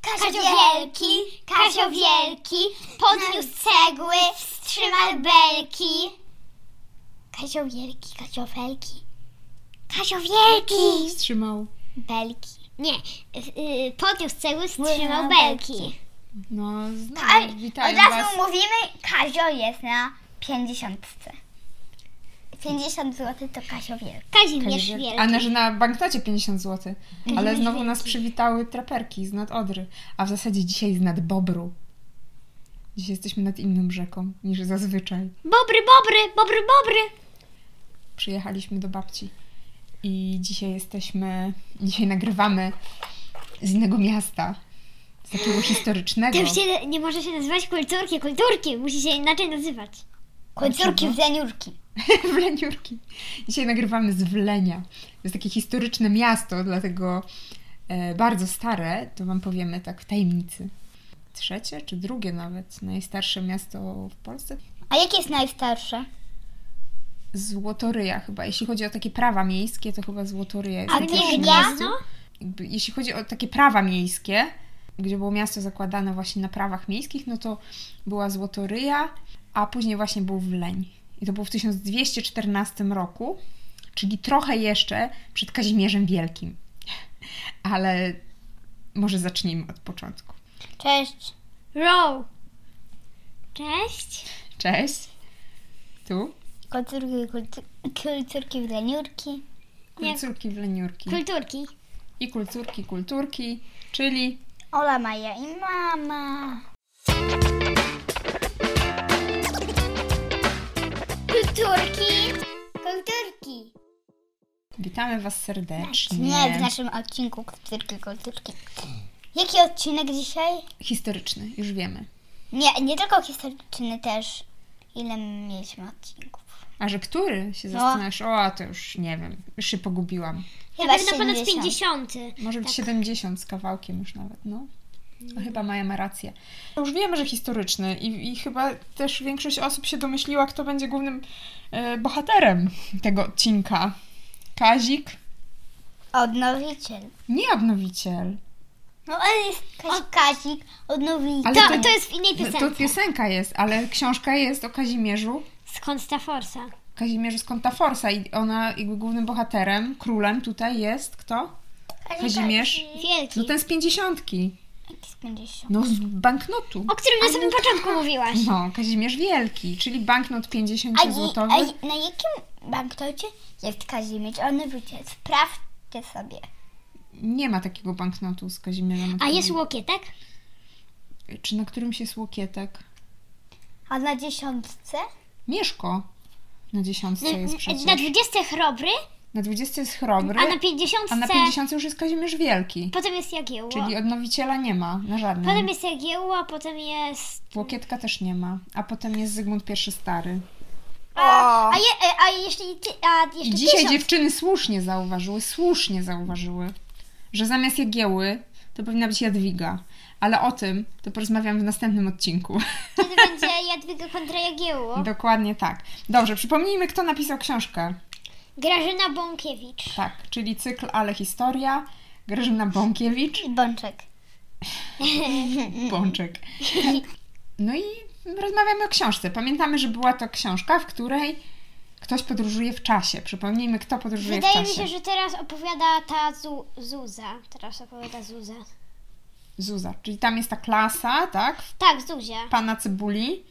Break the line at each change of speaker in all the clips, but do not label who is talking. Kazio Wielki, Kazio Wielki, podniósł cegły, wstrzymał belki. Kazio Wielki, Kazio Wielki, Kazio Wielki,
Wstrzymał.
belki. Nie, yy, podniósł cegły,
Wstrzymał
wstrzymał belki.
No,
A,
znam.
od
Witaj
razu
was.
mówimy, Kazio jest na 50. 50 zł to Kazio wielki.
Kazimierz Wielki.
A na, że na banknocie 50 zł. Ale
Kazimierz
znowu nas
Wielki.
przywitały traperki z nad Odry. A w zasadzie dzisiaj z nad Bobru. Dzisiaj jesteśmy nad inną rzeką niż zazwyczaj.
Bobry, bobry, bobry, bobry.
Przyjechaliśmy do babci. I dzisiaj jesteśmy, dzisiaj nagrywamy z innego miasta. Z takiego historycznego.
To
No.
już się nie może się nazywać kulturki, kulturki, musi się inaczej nazywać.
Kulturki
Dlaczego?
w Zeniurki.
Wleniurki. Dzisiaj nagrywamy z Wlenia. To jest takie historyczne miasto, dlatego e, bardzo stare, to Wam powiemy tak w tajemnicy. Trzecie czy drugie nawet, najstarsze miasto w Polsce?
A jakie jest najstarsze?
Złotoryja chyba. Jeśli chodzi o takie prawa miejskie, to chyba Złotoryja jest
A
najstarsze
gdzie
miasto.
Gniazno?
Jakby, jeśli chodzi o takie prawa miejskie, gdzie było miasto zakładane właśnie na prawach miejskich, no to była Złotoryja, a później właśnie był Wleń. I to było w 1214 roku, czyli trochę jeszcze przed Kazimierzem Wielkim. Ale może zacznijmy od początku.
Cześć.
Row. Cześć.
Cześć! Tu?
Kulturki, kultu, kulturki w Zeniurki.
Nie.
Kulturki, wleniurki.
Kulturki.
I kulturki, kulturki, czyli
Ola, Maja i mama.
Kulturki. Kulturki.
witamy Was serdecznie.
Nie, w naszym odcinku kulturki, kulturki. Jaki odcinek dzisiaj?
Historyczny, już wiemy.
Nie, nie tylko historyczny też. Ile mieliśmy odcinków?
A że który się
No.
zastanawiasz? O, a to już nie wiem, już się pogubiłam.
Chyba
Chyba
na ponad
70.
50.
Może być 70 z kawałkiem już nawet, no. A Chyba Maja ma rację. Już wiemy, że historyczny i, i chyba też większość osób się domyśliła, kto będzie głównym e, bohaterem tego odcinka. Kazik?
Odnowiciel.
Nie odnowiciel.
No ale jest Kazik, Kazik odnowiciel.
Ale
To,
to-
to jest w innej
No, to
piosence.
piosenka jest, ale książka jest o Kazimierzu.
Skąd ta forsa?
Kazimierzu z Kontaforsa i ona jakby głównym bohaterem, królem tutaj jest kto? Kazimierz?
Wielki.
No ten z pięćdziesiątki.
Jaki z 50?
No z banknotu.
O którym na samym początku mówiłaś.
No, Kazimierz Wielki, czyli banknot
A,
50
dzi-
złotowy.
a dzi- na jakim banknocie jest Kazimierz odnowiciel? Sprawdźcie sobie.
Nie ma takiego banknotu z Kazimierzem.
A
który-
jest tak? łokietek?
Czy na którymś jest łokietek?
A na dziesiątce?
Mieszko na dziesiątce jest przecież.
Na 20 chrobry,
Na 20 jest chrobry,
a na 50.
a na 50 już jest Kazimierz Wielki.
Potem jest Jagiełło.
Czyli odnowiciela nie ma na żadnym.
Potem jest Jagiełło, a potem jest...
Łokietka też nie ma, a potem jest Zygmunt I Stary.
A, a, je, e, a jeśli... ty- A
I
jeszcze
dzisiaj
1000.
dziewczyny słusznie zauważyły, słusznie zauważyły, że zamiast Jagieły to powinna być Jadwiga. Ale o tym to porozmawiam w następnym odcinku.
Kiedy będzie Jadwiga kontra Jagiełło?
Dokładnie tak. Dobrze, przypomnijmy, kto napisał książkę.
Grażyna Bąkiewicz.
Tak, czyli cykl Ale Historia, Grażyna Bąkiewicz,
I Bączek.
Bączek. No i rozmawiamy o książce. Pamiętamy, że była to książka, w której ktoś podróżuje w czasie. Przypomnijmy, kto podróżuje
Wydaje
w
mi
czasie.
się, że teraz opowiada ta Zu- Zuza. Teraz opowiada Zuza.
Zuza, czyli tam jest ta klasa, tak?
Tak, Zuzia.
Pana Cebuli,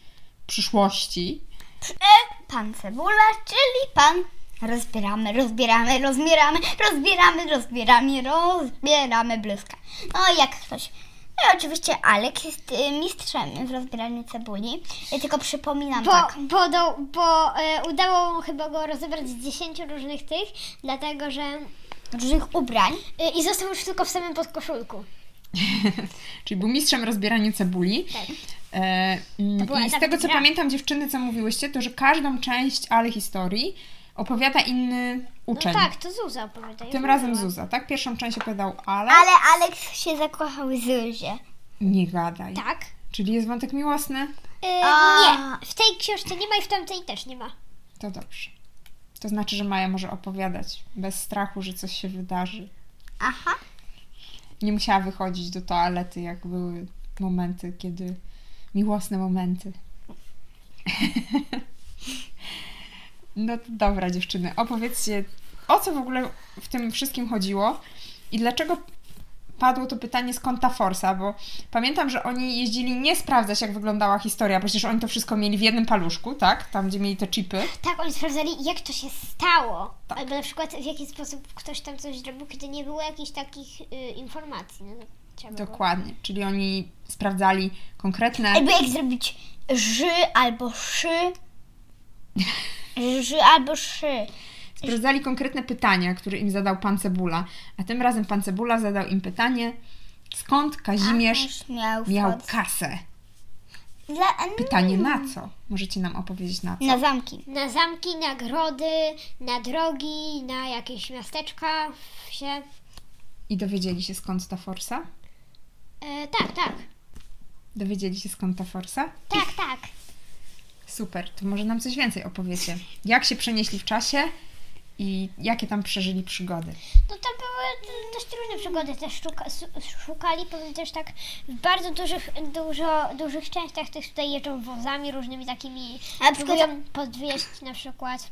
przyszłości.
Pan Cebula, czyli pan. Rozbieramy, rozbieramy, rozbieramy, rozbieramy, rozbieramy, rozbieramy bluzkę. No i jak ktoś. No i oczywiście Alek jest y, mistrzem w rozbieraniu cebuli. Ja tylko przypominam
Bo,
tak.
bo, do, bo e, udało mu chyba go rozebrać z 10 różnych tych, dlatego że.
różnych ubrań.
e, I został już tylko w samym podkoszulku.
Czyli był mistrzem rozbierania cebuli.
Tak.
E, mm,
To była
I z
etap
tego, co
gra.
pamiętam, dziewczyny, co mówiłyście, to że każdą część Ale Historii opowiada inny
No
uczeń.
tak, to Zuza opowiada. już
Tym razem
mówiłam.
Zuza, tak? Pierwszą część opowiadał Ale.
Ale Aleks się zakochał w Zuzie.
Nie gadaj.
Tak.
Czyli jest wątek miłosny?
E,
A.
nie, w tej książce nie ma i w tamtej też nie ma.
To dobrze. To znaczy, że Maja może opowiadać bez strachu, że coś się wydarzy.
Aha.
nie musiała wychodzić do toalety, jak były momenty, kiedy miłosne momenty. No to dobra, dziewczyny, opowiedzcie, o co w ogóle w tym wszystkim chodziło i dlaczego padło to pytanie z konta Forsa, bo pamiętam, że oni jeździli nie sprawdzać, jak wyglądała historia, bo przecież oni to wszystko mieli w jednym paluszku, tak? Tam, gdzie mieli te chipy.
Tak, oni sprawdzali, jak to się stało.
Tak.
Albo na przykład w jaki sposób ktoś tam coś zrobił, kiedy nie było jakichś takich y, informacji. No, to trzeba było-
Dokładnie, czyli oni sprawdzali konkretne...
Albo jak zrobić ży albo szy. Ży albo szy.
Sprawdzali konkretne pytania, które im zadał pan Cebula, a tym razem pan Cebula zadał im pytanie, skąd Kazimierz
Ach, miał,
miał
wchod-
kasę?
Dla,
Pytanie na
Mm.
co? Możecie nam opowiedzieć na co?
No.
Na zamki.
Na zamki, na grody, na drogi, na jakieś miasteczka, wsie.
I dowiedzieli się skąd ta forsa?
E, tak, tak,
Dowiedzieli się skąd ta forsa?
tak, tak.
Super, to może nam coś więcej opowiecie. Jak się przenieśli w czasie i jakie tam przeżyli przygody?
No to były dość różne przygody. Też szuka, su- szukali pewnie też tak w bardzo dużych, dużo, dużych częściach tych tutaj jeżdżą wozami różnymi takimi.
A przykład-
Próbują podwieźć na przykład.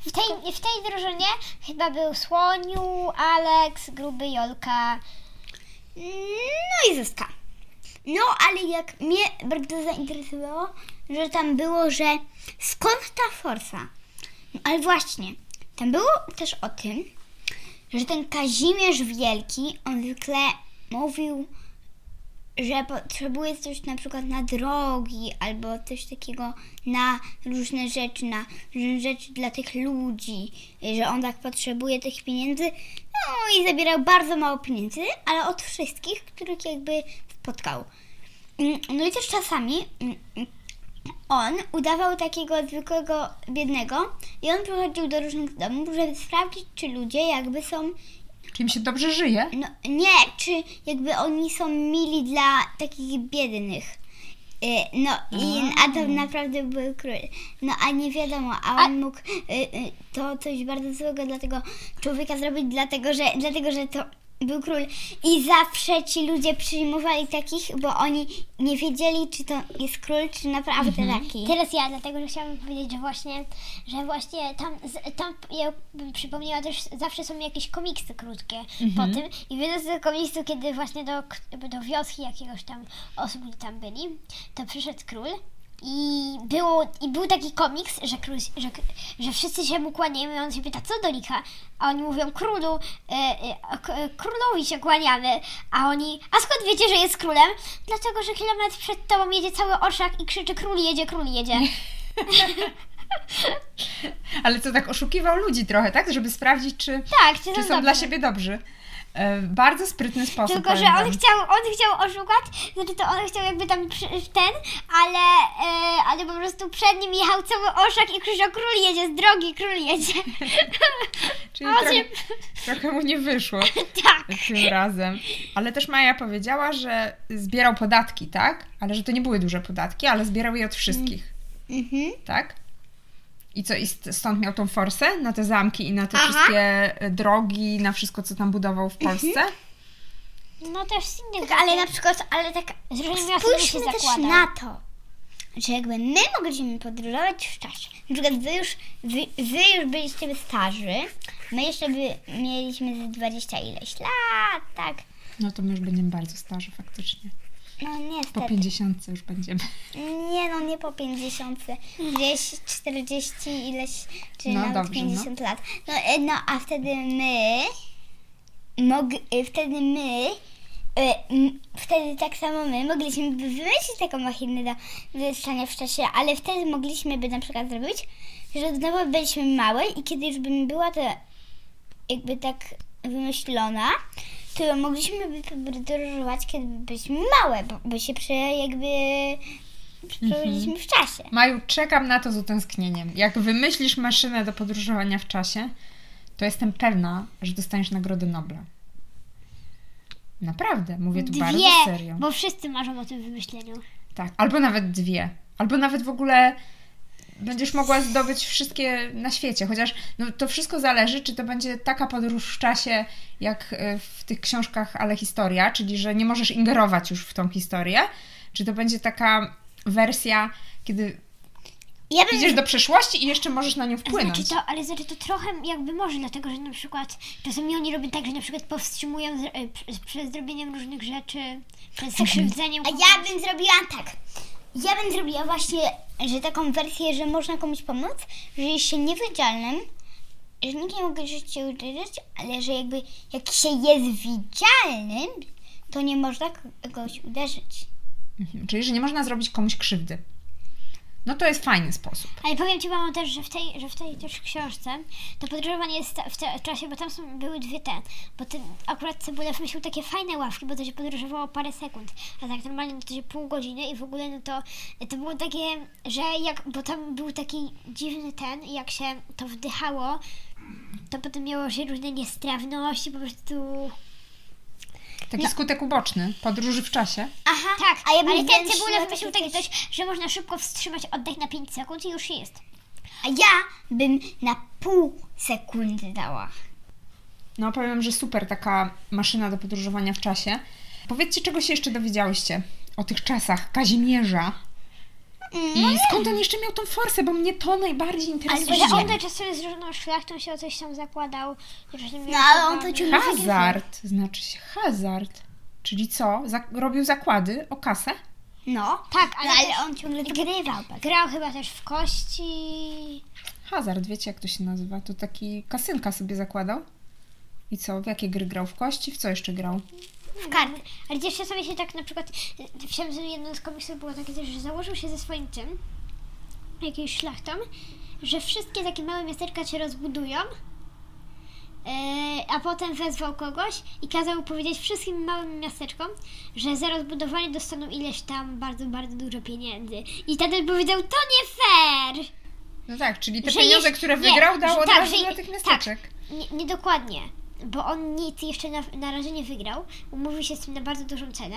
W tej, w tej drużynie chyba był Słoniu, Aleks, Gruby, Jolka.
No i zyska. No, ale jak mnie bardzo zainteresowało, że tam było, że skąd ta forsa? No, ale właśnie, tam było też o tym, że ten Kazimierz Wielki, on zwykle mówił, że potrzebuje coś na przykład na drogi albo coś takiego na różne rzeczy, na różne rzeczy dla tych ludzi, że on tak potrzebuje tych pieniędzy. No i zabierał bardzo mało pieniędzy, ale od wszystkich, których jakby spotkał. Mm, No i też czasami mm, on udawał takiego zwykłego biednego i on przychodził do różnych domów, żeby sprawdzić, czy ludzie jakby są
Czy im się dobrze żyje?
no, nie, czy jakby oni są mili dla takich biednych. Y, No i a to naprawdę był król. No a nie wiadomo, a on mógł y, y, to coś bardzo złego dla tego człowieka zrobić, dlatego że, dlatego, że to był król. I zawsze ci ludzie przyjmowali takich, bo oni nie wiedzieli, czy to jest król, czy naprawdę taki.
Teraz ja, dlatego że chciałabym powiedzieć, że właśnie, że właśnie tam, z- tam ja bym przypomniała też, zawsze są jakieś komiksy krótkie po tym i w jednym z tych komiksów, kiedy właśnie do, k- do wioski jakiegoś tam osób oni tam byli, to przyszedł król i, było, i był taki komiks, że, król, że, k- że wszyscy się mu kłaniają i on się pyta, co do licha, a oni mówią, królu, e, e, a k- e, królowi się kłaniamy, a oni, a skąd wiecie, że jest królem? Dlatego, że kilometr przed tobą jedzie cały orszak i krzyczy, król jedzie, król jedzie.
Ale co tak oszukiwał ludzi trochę, tak? Żeby sprawdzić, czy,
Tak, czy,
czy są
dobrze.
dla siebie dobrzy. E, bardzo sprytny sposób.
Tylko, że
powiem wam.
on chciał, on chciał oszukać, znaczy to on chciał jakby tam przy, w ten, ale, e, ale po prostu przed nim jechał cały orszak i krzyczał, król jedzie z drogi, król jedzie.
Czyli
on
trochę,
się-
trochę mu nie wyszło
tak.
tym razem. Ale też Maja powiedziała, że zbierał podatki, tak? Ale że to nie były duże podatki, ale zbierał je od wszystkich,
Mhm.
tak? I co, i st- stąd miał tą forsę na te zamki i na te
Aha.
wszystkie e, drogi, na wszystko, co tam budował w Polsce?
No też z innych
Tak, ale na przykład, ale tak
z różnymi osobami się
Spójrzmy też
zakłada.
na to, że jakby my mogliśmy podróżować w czasie. Na przykład wy już, wy, wy już byliście starzy, my jeszcze by mieliśmy ze 20 ileś lat, tak.
No to my już będziemy bardzo starzy faktycznie.
No
Po
niestety.
50 już będziemy.
Nie no, nie po 50, gdzieś 40 ileś, czy
No
nawet
dobrze, no.
50 lat. No, e, no a wtedy my, mog, e, wtedy my, e, m, wtedy tak samo my mogliśmy by wymyślić taką machinę do wyruszania w czasie, ale wtedy mogliśmy by na przykład zrobić, że znowu byliśmy małe i kiedy już bym była to jakby tak wymyślona, to mogliśmy by podróżować, kiedy byliśmy małe, bo by się prze, jakby przeprowadziliśmy w czasie.
Maju, czekam na to z utęsknieniem. Jak wymyślisz maszynę do podróżowania w czasie, to jestem pewna, że dostaniesz Nagrodę Nobla. Naprawdę, mówię tu bardzo
Dwie,
serio.
bo wszyscy marzą o tym wymyśleniu.
Tak, albo nawet dwie. Albo nawet w ogóle będziesz mogła zdobyć wszystkie na świecie. Chociaż no, to wszystko zależy, czy to będzie taka podróż w czasie, jak e, w tych książkach, ale historia, czyli że nie możesz ingerować już w tą historię, czy to będzie taka wersja, kiedy
Ja bym
idziesz do przeszłości i jeszcze możesz na nią wpłynąć.
Znaczy to, ale znaczy to trochę jakby może, dlatego że na przykład czasami oni robią tak, że na przykład powstrzymują z, y, przy- przed zrobieniem różnych rzeczy, przed skrzywdzeniem.
A ja bym zrobiła tak. Ja bym zrobiła właśnie, że taką wersję, że można komuś pomóc, że jest się niewidzialnym, że nikt nie może się uderzyć, ale że jakby jak się jest widzialnym, to nie można kogoś uderzyć.
Mhm, Czyli, że nie można zrobić komuś krzywdy. No to jest fajny sposób.
Ale powiem Ci, mamo, też, że w tej, że w tej też książce to podróżowanie jest ta- w, te, w czasie, bo tam są, były dwie te, bo ten, akurat Cebula wymyślił takie fajne ławki, bo to się podróżowało parę sekund, a tak normalnie to się pół godziny i w ogóle no to, to było takie, że jak, bo tam był taki dziwny ten, jak się to wdychało, to potem miało się różne niestrawności, po prostu...
Taki
No.
skutek uboczny podróży w czasie.
Aha,
Tak,
a ja bym
ale ten
wręcz
Cebula
nawet
wymyślił takie coś, że można szybko wstrzymać oddech na 5 sekund i już jest.
A ja bym na pół sekundy dała.
No powiem, że super taka maszyna do podróżowania w czasie. Powiedzcie, czego się jeszcze dowiedziałyście o tych czasach Kazimierza. I skąd on jeszcze miał tą forsę, bo mnie to najbardziej
No Ale
interesuje.
że on to czasem z różną szlachtą się o coś tam zakładał.
No, ale on to ciągle-
Hazard, znaczy się hazard. Czyli co? Za- robił zakłady o kasę?
No,
Tak,
ale,
ale,
ale on ciągle wygrywał.
też grał chyba też w kości.
Hazard, wiecie jak to się nazywa? To taki kasynka sobie zakładał. I co? W jakie gry grał? W kości? W co jeszcze grał?
W karty. Ale gdzieś czasami się tak na przykład, w tym jednym z komiksów było takie też, że założył się ze swoim tym, jakimś szlachtą, że wszystkie takie małe miasteczka się rozbudują, yy, a potem wezwał kogoś i kazał powiedzieć wszystkim małym miasteczkom, że za rozbudowanie dostaną ileś tam bardzo, bardzo dużo pieniędzy. I wtedy powiedział, to nie fair!
No tak, czyli te
Że
pieniądze,
jeś-
które
nie,
wygrał, dał
że
od
tak,
razu
że-
dla tych
tak.
miasteczek.
Nie, niedokładnie, bo on nic jeszcze na, na razie nie wygrał. Umówił się z tym na bardzo dużą cenę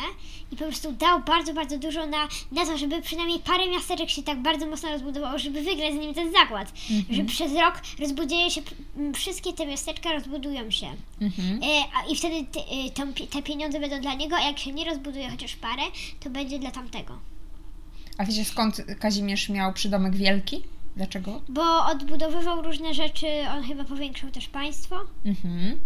i po prostu dał bardzo, bardzo dużo na, na to, żeby przynajmniej parę miasteczek się tak bardzo mocno rozbudowało, żeby wygrać z nim ten zakład. Że przez rok rozbuduje się, m, wszystkie te miasteczka rozbudują się.
Mhm.
E, a, I wtedy te, e, tam, pi- te pieniądze będą dla niego, a jak się nie rozbuduje chociaż parę, to będzie dla tamtego.
A wiecie skąd Kazimierz miał przydomek wielki? Dlaczego?
Bo odbudowywał różne rzeczy, on chyba powiększył też państwo.
Mhm.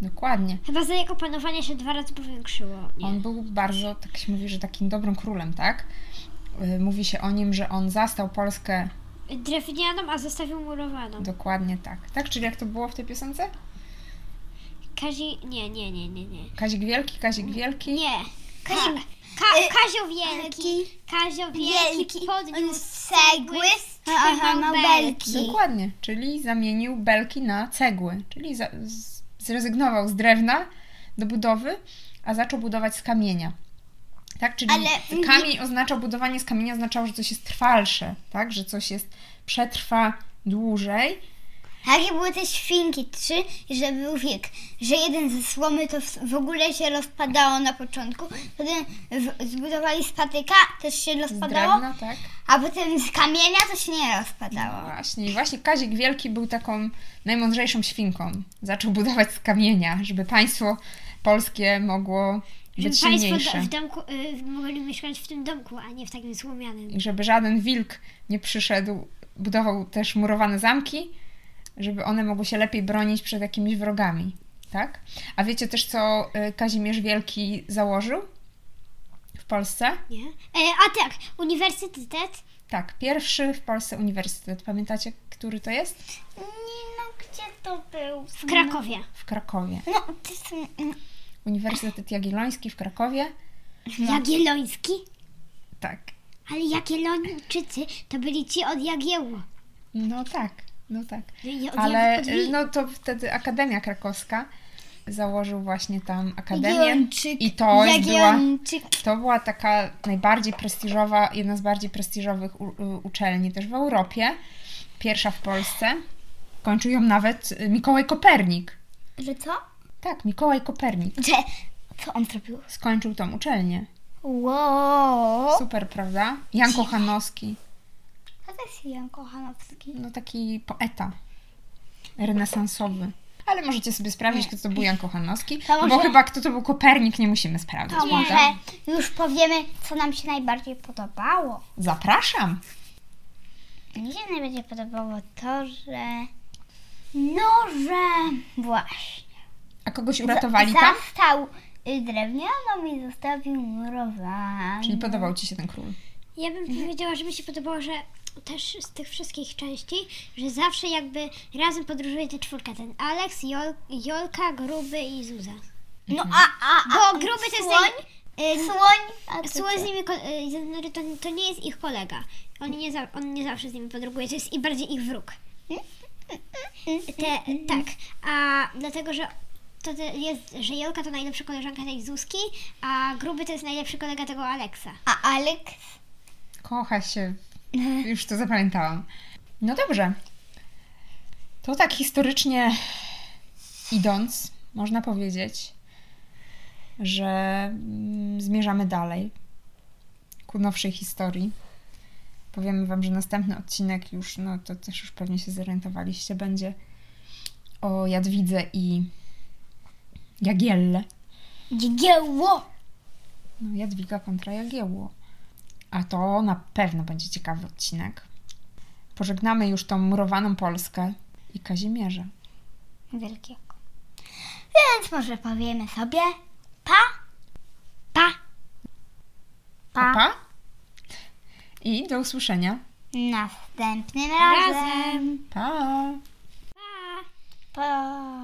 Dokładnie.
Chyba za jego panowanie się dwa razy powiększyło. Nie.
On był bardzo, tak się mówi, że takim dobrym królem, tak? Y, Mówi się o nim, że on zastał Polskę
Drewnianą, a zostawił murowaną.
dokładnie tak. Tak? Czyli jak to było w tej piosence?
Kazi... Nie, nie, nie, nie, nie.
Kazik Wielki, Kazik Wielki.
Nie. Kazi...
Tak.
Ka...
Y,
Kazio Wielki. Kazio Wielki
Wielki
podniósł
cegły,
trzymał
trzymał
belki.
belki.
Dokładnie. Czyli zamienił belki na cegły. Czyli za, z, zrezygnował z drewna do budowy, a zaczął budować z kamienia. Tak? Czyli
Ale-
kamień oznaczał, budowanie z kamienia oznaczało, że coś jest trwalsze, tak? Że coś jest, przetrwa dłużej.
Takie były te świnki trzy, że był wiek, że jeden ze słomy to w- w ogóle się rozpadało na początku, potem w- zbudowali z patyka, też się
Z
rozpadało,
drewna, tak?
a potem z kamienia to się nie
No
rozpadało.
Właśnie, i właśnie Kazik Wielki był taką najmądrzejszą świnką. Zaczął budować z kamienia, żeby państwo polskie mogło
Żeby
być
państwo
silniejsze.
do, w domku y, mogli mieszkać w tym domku, a nie w takim słomianym.
I żeby żaden wilk nie przyszedł, budował też murowane zamki, żeby one mogły się lepiej bronić przed jakimiś wrogami, tak? A wiecie też, co y, Kazimierz Wielki założył w Polsce?
Nie? E, a tak, uniwersytet.
Tak, pierwszy w Polsce uniwersytet. Pamiętacie, który to jest?
Nie no, gdzie to był?
W Krakowie.
W Krakowie.
No, to jest... mm,
Uniwersytet Jagielloński w Krakowie.
Jagielloński?
Tak.
Ale Jagiellończycy to byli ci od Jagiełło.
No tak, no tak.
Nie, Od
Ale
Jagieł- od Wi-
no to wtedy Akademia Krakowska założył właśnie tam akademię.
Jagiellończyk-
I to jest była,
Jagiellończyk.
to była taka najbardziej prestiżowa, jedna z bardziej prestiżowych u, u, uczelni też w Europie. Pierwsza w Polsce. Kończył ją nawet y, Mikołaj Kopernik.
Że co?
Tak, Mikołaj Kopernik.
Że... Co on zrobił?
Skończył tą uczelnię.
Wow.
Super, prawda? Jan Kochanowski.
A to jest Jan Kochanowski?
No taki poeta renesansowy. Ale możecie sobie sprawdzić, kto to był Jan Kochanowski.
To
Bo
może-
chyba kto to był Kopernik, nie musimy sprawdzać.
To
prawda?
może już powiemy, co nam się najbardziej podobało.
Zapraszam.
Mi się najbardziej podobało to, że... No, że... Właśnie.
A kogoś
Za-
uratowali tam?
Zastał y, drewnianą i zostawił murowaną.
Czyli podobał ci się ten król.
Ja bym powiedziała, że mi się podobało, że też z tych wszystkich części, że zawsze jakby razem podróżuje ta czwórka, ten Alex, Jol, Jolka, Gruby i Zuza.
No a, a, a
Bo Gruby to jest...
słoń?
ten- y,
Słoń? A
Słoń z nimi, ko- y, znaczy to, to nie jest ich kolega. Oni nie za, on nie zawsze z nimi podróżuje, to jest i bardziej ich wróg.
y,
Te, tak, a dlatego, że to te jest, że Jolka to najlepsza koleżanka tej Zuzki, a Gruby to jest najlepszy kolega tego Aleksa.
A Alek?
Kocha się. Już to zapamiętałam. No dobrze. To tak historycznie idąc, można powiedzieć, że mm, zmierzamy dalej ku nowszej historii. Powiemy Wam, że następny odcinek już, no to też już pewnie się zorientowaliście, będzie o Jadwidze i Jagielle.
Dzieło!
No, Jadwiga kontra Jagiełło. A to na pewno będzie ciekawy odcinek. Pożegnamy już tą murowaną Polskę i Kazimierza.
Wielkiego. Więc może powiemy sobie pa, pa, pa.
Pa, pa. I do usłyszenia.
Następnym razem.
Pa!
Pa!
Pa.